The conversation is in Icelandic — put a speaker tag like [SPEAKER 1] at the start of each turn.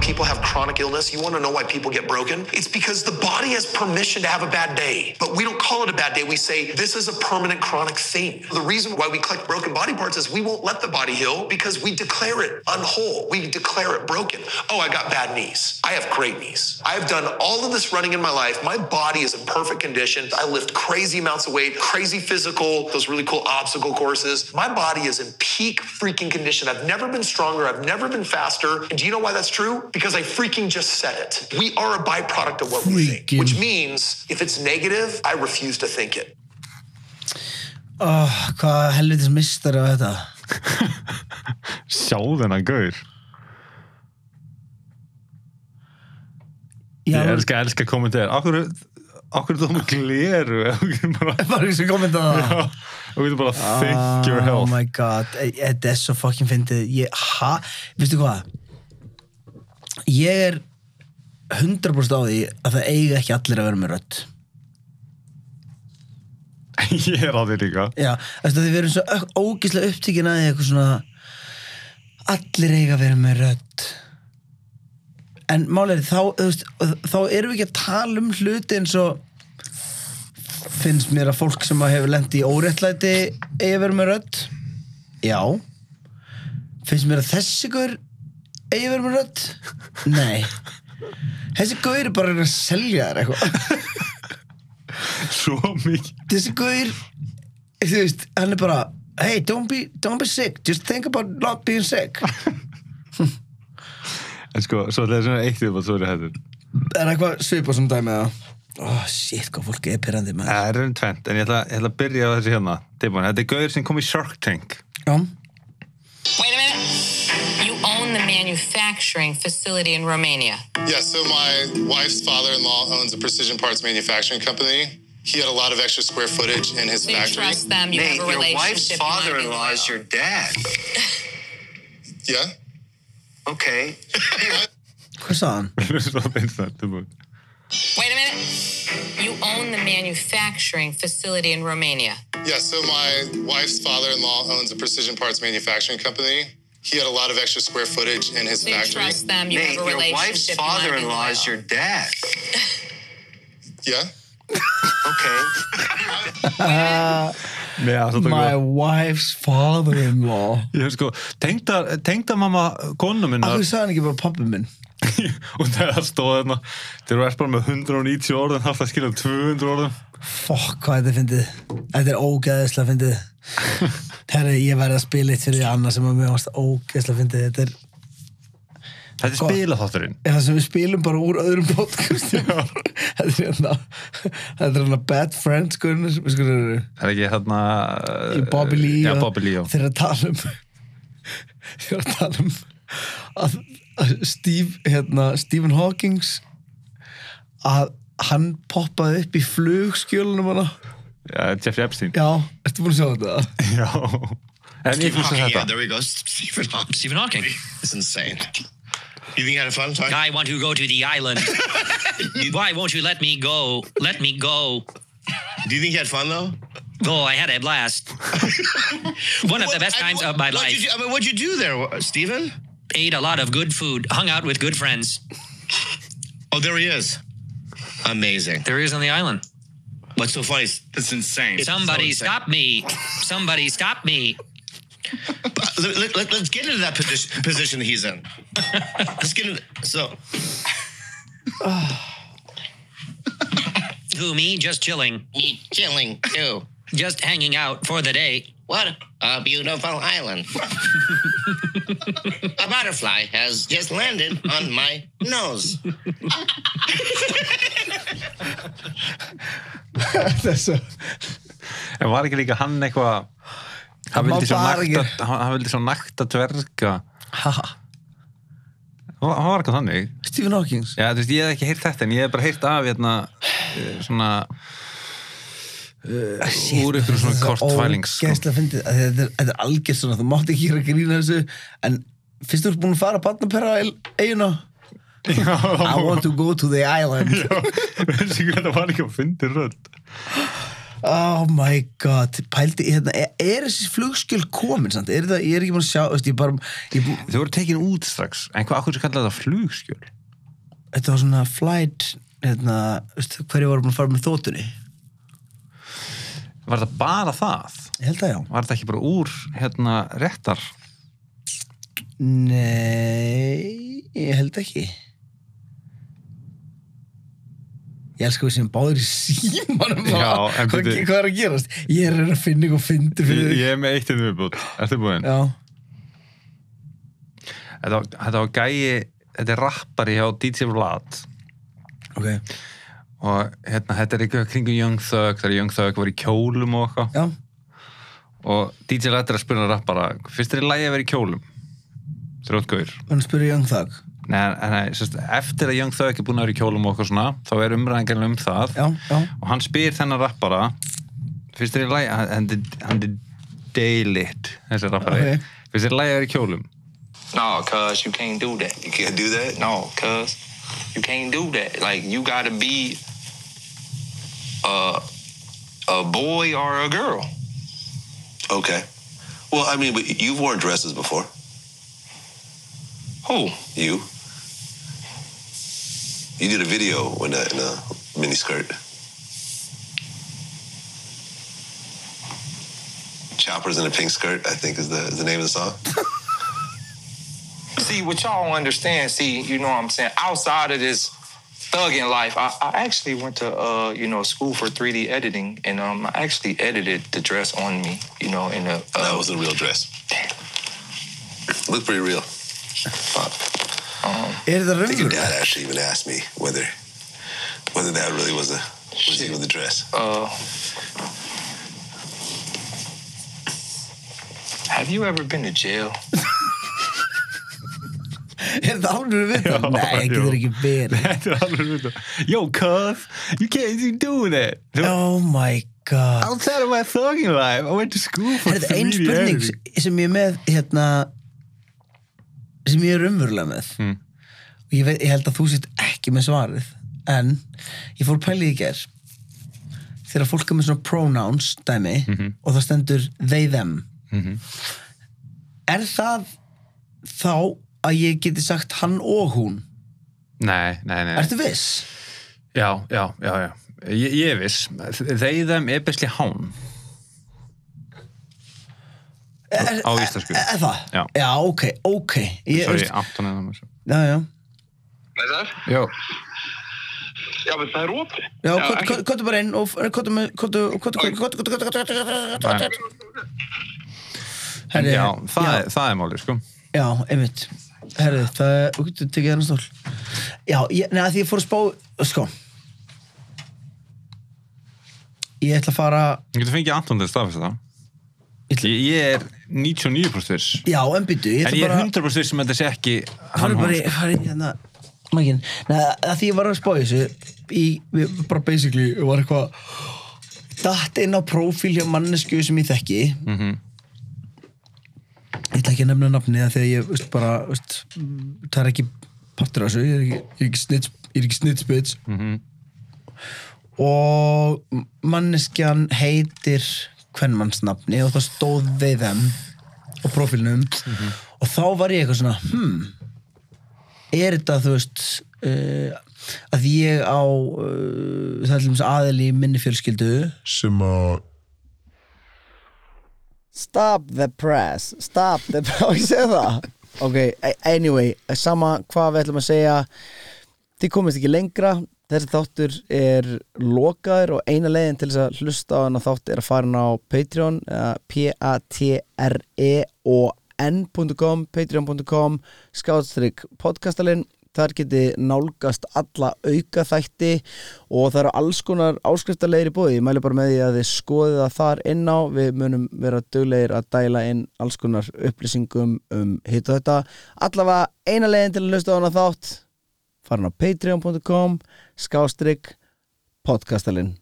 [SPEAKER 1] people have chronic illness, you want to know why people get broken? It's because the body has permission to have a bad day, but we don't call it a bad day. We say this is a permanent chronic thing. The reason why we collect broken body parts is we won't let the body heal because we declare it unwhole. We declare it broken. Oh, I got bad knees. I have great knees. I've done all of this running in my life. My body is in perfect condition. I lift crazy amounts of weight, crazy physical, those really cool obstacle courses. My body is in peak freaking condition. I've never been stronger. I've never been faster. And do you know why that's true? Because I freaking just said it. We are a byproduct of what we think,
[SPEAKER 2] Freaking.
[SPEAKER 1] which means if it's negative, I refuse to think it.
[SPEAKER 2] oh, hvað helvitis mistar á þetta
[SPEAKER 3] Sjá þennan gaur.
[SPEAKER 2] Já,
[SPEAKER 3] Ég elska, elska kommentar. Akkur, akkur þú með gleru? Ef þú getur bara-
[SPEAKER 2] bara ekki sem kommenta á það
[SPEAKER 3] Þú getur bara think your
[SPEAKER 2] Oh
[SPEAKER 3] health.
[SPEAKER 2] my god, e- e- þetta er svo fucking fyndið Ég, ha, veistu hvað Ég er 100% á því að það eiga ekki allir að vera með rödd
[SPEAKER 3] Ég er á því líka.
[SPEAKER 2] Já, þess að við erum svo ök- ógeðslega upptíkin að eitthvað svona allir eiga að vera með rödd en málega þá, þú veist, þá erum við ekki að tala um hluti eins og finnst mér að fólk sem að hefur lendi í óréttlæti eiga að vera með rödd já finnst mér að þessi gaur eiga að vera með rödd nei þessi gaur er bara að reyna að selja þér eitthvað
[SPEAKER 3] Svo mikið.
[SPEAKER 2] þessi guður þú veist, hann er bara hey, don't be, don't be sick, just think about not being sick
[SPEAKER 3] En sko, svo ætlaði svona eitt upp að þú eru hættur.
[SPEAKER 2] er eitthvað svipað sem dæmi eða oh shit, hvað fólk er pyrrandi maður
[SPEAKER 3] Það er um tvent, en ég ætla, ég ætla að byrja á þessu hérna. Tilbúin, þetta er gaur sem kom í Shark Tank.
[SPEAKER 2] já,
[SPEAKER 4] Wait a minute. You own the manufacturing facility in Romania.
[SPEAKER 5] Yeah, so my wife's father-in-law owns a precision parts manufacturing company. He had a lot of extra square footage in his
[SPEAKER 4] So you
[SPEAKER 5] factory.
[SPEAKER 4] trust them. You have a relationship. you wanna be loyal.
[SPEAKER 6] your dad.
[SPEAKER 5] Yeah.
[SPEAKER 6] Okay.
[SPEAKER 2] hvað sagði hann?
[SPEAKER 3] svo finnst það, tilbúin.
[SPEAKER 4] Wait a minute. You own the manufacturing facility in Romania.
[SPEAKER 5] Yeah, so my wife's father-in-law owns a precision parts manufacturing company. He had a lot of extra square footage in his
[SPEAKER 4] So you
[SPEAKER 5] factory.
[SPEAKER 4] trust them. You have a relationship. you wanna be loyal.
[SPEAKER 6] your dad.
[SPEAKER 5] Yeah.
[SPEAKER 6] Okay.
[SPEAKER 3] Nei, það er svolítið góð.
[SPEAKER 2] wife's father-in-law
[SPEAKER 3] Ég hef sko, tengda, tengda mamma konu minna
[SPEAKER 2] hvað sagði hann ekki bara pappi minn?
[SPEAKER 3] og það stóð hérna þegar þú ert bara með 190 orðin það er að skilja um 200 orðin
[SPEAKER 2] fokk, hvað þetta er fyndið þetta er ógeðislega fyndið herri, ég verði að spila eitt fyrir því annað sem að mér varst ógeðislega fyndið þetta er
[SPEAKER 3] Þetta er
[SPEAKER 2] Sko-
[SPEAKER 3] spilaþátturinn
[SPEAKER 2] Já, það sem við spilum bara úr öðrum podcastum Þetta er hérna Þetta er hérna Bad Friends hérna, Gunnur Við skulum sko, eru
[SPEAKER 3] Það er ekki hérna
[SPEAKER 2] í Bobby Lee
[SPEAKER 3] Já,
[SPEAKER 2] og-
[SPEAKER 3] Bobby Lee, já
[SPEAKER 2] Þeir eru að tala um Þeir eru að tala um að, að Steve hérna, Stephen Hawkings að hann poppaði upp í flugskjölunum hana
[SPEAKER 3] Já, Jeffrey Epstein
[SPEAKER 2] Já, ertu búin að sjá þetta?
[SPEAKER 3] Já En ég
[SPEAKER 6] Stephen
[SPEAKER 3] fyrst að
[SPEAKER 6] Hawking, yeah,
[SPEAKER 3] þetta
[SPEAKER 6] there he goes. Stephen Hawking.
[SPEAKER 7] Stephen Hawking.
[SPEAKER 6] It's insane. You think you had a fun time?
[SPEAKER 7] I want to go to the island. Why won't you let me go? Let me go.
[SPEAKER 6] Do you think you had fun though?
[SPEAKER 7] Oh, I had a blast. One of the best times of my
[SPEAKER 6] what'd
[SPEAKER 7] life.
[SPEAKER 6] You do, I mean, what'd you do there, Stephen?
[SPEAKER 7] Ate a lot of good food. Hung out with good friends.
[SPEAKER 6] Oh, there he is. Amazing.
[SPEAKER 7] There he is on the island.
[SPEAKER 6] What's so funny? is-
[SPEAKER 8] That's insane.
[SPEAKER 7] Somebody
[SPEAKER 6] so
[SPEAKER 7] stop me. Somebody stop me.
[SPEAKER 6] Let, let, let, let's get into that position, position he's in. let's get into. So,
[SPEAKER 7] Who, me? Just chilling.
[SPEAKER 6] me chilling too.
[SPEAKER 7] Just hanging out for the day.
[SPEAKER 6] What a beautiful island. a butterfly has just landed on my nose.
[SPEAKER 2] Þessu
[SPEAKER 3] En var ekki líka hann eitthvað
[SPEAKER 2] Hann
[SPEAKER 3] Hann
[SPEAKER 2] má
[SPEAKER 3] vildi svo
[SPEAKER 2] bara
[SPEAKER 3] nakta
[SPEAKER 2] ekki-
[SPEAKER 3] Hann hann vildi svo nakta dverga
[SPEAKER 2] Haha,
[SPEAKER 3] Hann hann var eitthvað þannig
[SPEAKER 2] Stephen Hawkings
[SPEAKER 3] Já, þú veist, ég hef ekki heyrt þetta en ég hef bara heyrt af hérna eh, svona eh,
[SPEAKER 2] Ah, Shit,
[SPEAKER 3] úr ykkur svona
[SPEAKER 2] þetta er svo
[SPEAKER 3] kort fælings sko.
[SPEAKER 2] ógeðslega fyndið, að þetta er, þetta er algjör svona, þú mátt ekki gera grína þessu en fyrst þú ert búin að fara að barnaperra eiginu I want to go to the island
[SPEAKER 3] Veistu hvað þetta var líka að fyndi rödd
[SPEAKER 2] Oh my god, pældi hérna, er, er þessi flugskjöld komin samt? Er það, ég er ekki búin að sjá, veist, ég bara ég, bú-
[SPEAKER 3] Þau voru tekin út strax En hvað, akkur sem kallar þetta flugskjöl?
[SPEAKER 2] Þetta var svona flight hérna, veist, hverju voru búin að fara með þótunni
[SPEAKER 3] Var þetta bara það?
[SPEAKER 2] Ég held að já
[SPEAKER 3] Var þetta ekki bara úr, hérna, réttar?
[SPEAKER 2] Nei, ég held ekki Ég elska við sem báður í símanum
[SPEAKER 3] Já, en
[SPEAKER 2] hvað,
[SPEAKER 3] bíddu.
[SPEAKER 2] hvað er að gerast? Ég er að reyna að finna eitthvað fyndi
[SPEAKER 3] Ég,
[SPEAKER 2] fyrir
[SPEAKER 3] ég er með eitt einu viðbútt Ertu búinn?
[SPEAKER 2] Já,
[SPEAKER 3] Þetta, var- þetta var gæi, þetta er rappari hjá DJ Vlad
[SPEAKER 2] ok
[SPEAKER 3] Og hérna, þetta er eitthvað kringu Young Thug Þegar Young Thug var í kjólum og eitthvað
[SPEAKER 2] Já,
[SPEAKER 3] Og DJ Vlad er að spyrna rappara Fyrst er í lagi að vera í kjólum Þrjóttgauður
[SPEAKER 2] hann spurði um Young Thug
[SPEAKER 3] Nei, nei, nei, sérst, eftir að Young Thug er búin að vera í kjólum og okkur svona, þá er umræðingarlega um það
[SPEAKER 2] Já, já,
[SPEAKER 3] og hann spyr þennan rappara finnst þér í læg hann hann er daylit þessi rappari,
[SPEAKER 2] Ok.
[SPEAKER 3] finnst þér í læg að vera í kjólum
[SPEAKER 8] No, cuz you can't do that.
[SPEAKER 5] You can't do that.
[SPEAKER 8] No, cuz you can't do that. Like you gotta be uh, a a boy or a girl.
[SPEAKER 5] Okay. Well, I mean, but you've worn dresses before.
[SPEAKER 8] Who?
[SPEAKER 5] You. You did a video when that in a miniskirt. Choppers in a pink skirt, I think is the is the name of the song.
[SPEAKER 8] See what y'all don't understand, see, you know what I'm saying? Outside of this thugging life, I, I actually went to uh, you know, school for 3D editing and um I actually edited the dress on me, you know, in a
[SPEAKER 5] That
[SPEAKER 8] uh,
[SPEAKER 5] was a real dress.
[SPEAKER 8] Damn.
[SPEAKER 5] Looked pretty real.
[SPEAKER 2] er það
[SPEAKER 5] I think your
[SPEAKER 2] raunverulegt?
[SPEAKER 5] dad actually even asked me whether whether that really was a was even the dress.
[SPEAKER 8] uh Have you ever been to jail?
[SPEAKER 2] Er það ánur við það? Nei, það getur ekki verið
[SPEAKER 3] þetta er alveg mynd yo cuz, you can't even do that
[SPEAKER 2] Oh my god
[SPEAKER 3] outside of my thugging life I went to school for
[SPEAKER 2] Er þetta ein spurning sem ég er með hérna sem ég er umverulega með
[SPEAKER 3] Mm.
[SPEAKER 2] og ég, veit, ég held að þú sért ekki með svarið en ég fór pælið í ger þegar fólk er með svona pronouns dæmi og það stendur they them er það þá að ég geti sagt hann og hún
[SPEAKER 3] nei, nei, nei,
[SPEAKER 2] ertu viss?
[SPEAKER 3] já, já, já, já Ég, ég er viss, þeir þeim er besli hán
[SPEAKER 2] Er,
[SPEAKER 3] Á íslensku.
[SPEAKER 2] er, er það?
[SPEAKER 3] Já.
[SPEAKER 2] ok, ok ég,
[SPEAKER 3] Sorry,
[SPEAKER 2] veist-
[SPEAKER 3] Anton er sko. það með þessu
[SPEAKER 2] já, já
[SPEAKER 3] Já,
[SPEAKER 8] Já, menn það er opið.
[SPEAKER 2] Já, kottu bara inn og kottu með kottu, kottu, kottu, kottu, kottu, kottu, kottu, kottu
[SPEAKER 3] það er- já,
[SPEAKER 2] já,
[SPEAKER 3] það, Er, það er málið sko
[SPEAKER 2] já, einmitt Herri, það er, þú getur tekið hennar stól Já, ég, neða, því ég fór að spá sko Ég ætla að fara
[SPEAKER 3] Ég getur fengið Anton til að staðfesta
[SPEAKER 2] Ég
[SPEAKER 3] það ég, ég er 99% viss
[SPEAKER 2] Já, en byttu, ég
[SPEAKER 3] En
[SPEAKER 2] ætla
[SPEAKER 3] ég er
[SPEAKER 2] bara
[SPEAKER 3] 100% viss um að þetta sé ekki
[SPEAKER 2] hann
[SPEAKER 3] hann
[SPEAKER 2] bara
[SPEAKER 3] hún
[SPEAKER 2] í- fara í hérna maginn, neða, að því ég var að spá í þessu í, við bara basically var eitthvað datt inn á prófíl hjá mannesku sem ég þekki ég ætla ekki að nefna nafni að þegar ég, veist, bara veist, það er ekki partur af þessu ég er ekki, ég er ekki, snitch, ég er ekki snitspits og manneskjan heitir hvernmannsnafni og það stóð við þeim og prófílnum og þá var ég eitthvað svona, hmm er þetta þú veist uh, að ég á uh, það er til dæmis aðil í minni fjölskyldu
[SPEAKER 9] sem að
[SPEAKER 10] Stop the press Stop the press Og ég segi það Ok, a- anyway, sama hvað við ætlum að segja Þið komist ekki lengra Þessi þáttur er lokaður og eina leiðin til þess að hlusta á hann að þátt er að fara hann á Patreon eh, E p-a-t-r-e-o-n.com patreon.com skáðstrykk podcastalinn þar geti nálgast alla auka þætti og það eru alls konar áskriftarlegir í bóði, ég mæli bara með því að þið skoðið það þar inn á, við munum vera duglegir að dæla inn alls konar upplýsingum um hitt og þetta allavega eina leiðin til að hlusta á hana þátt farin á patreon.com skástrygg podcastalinn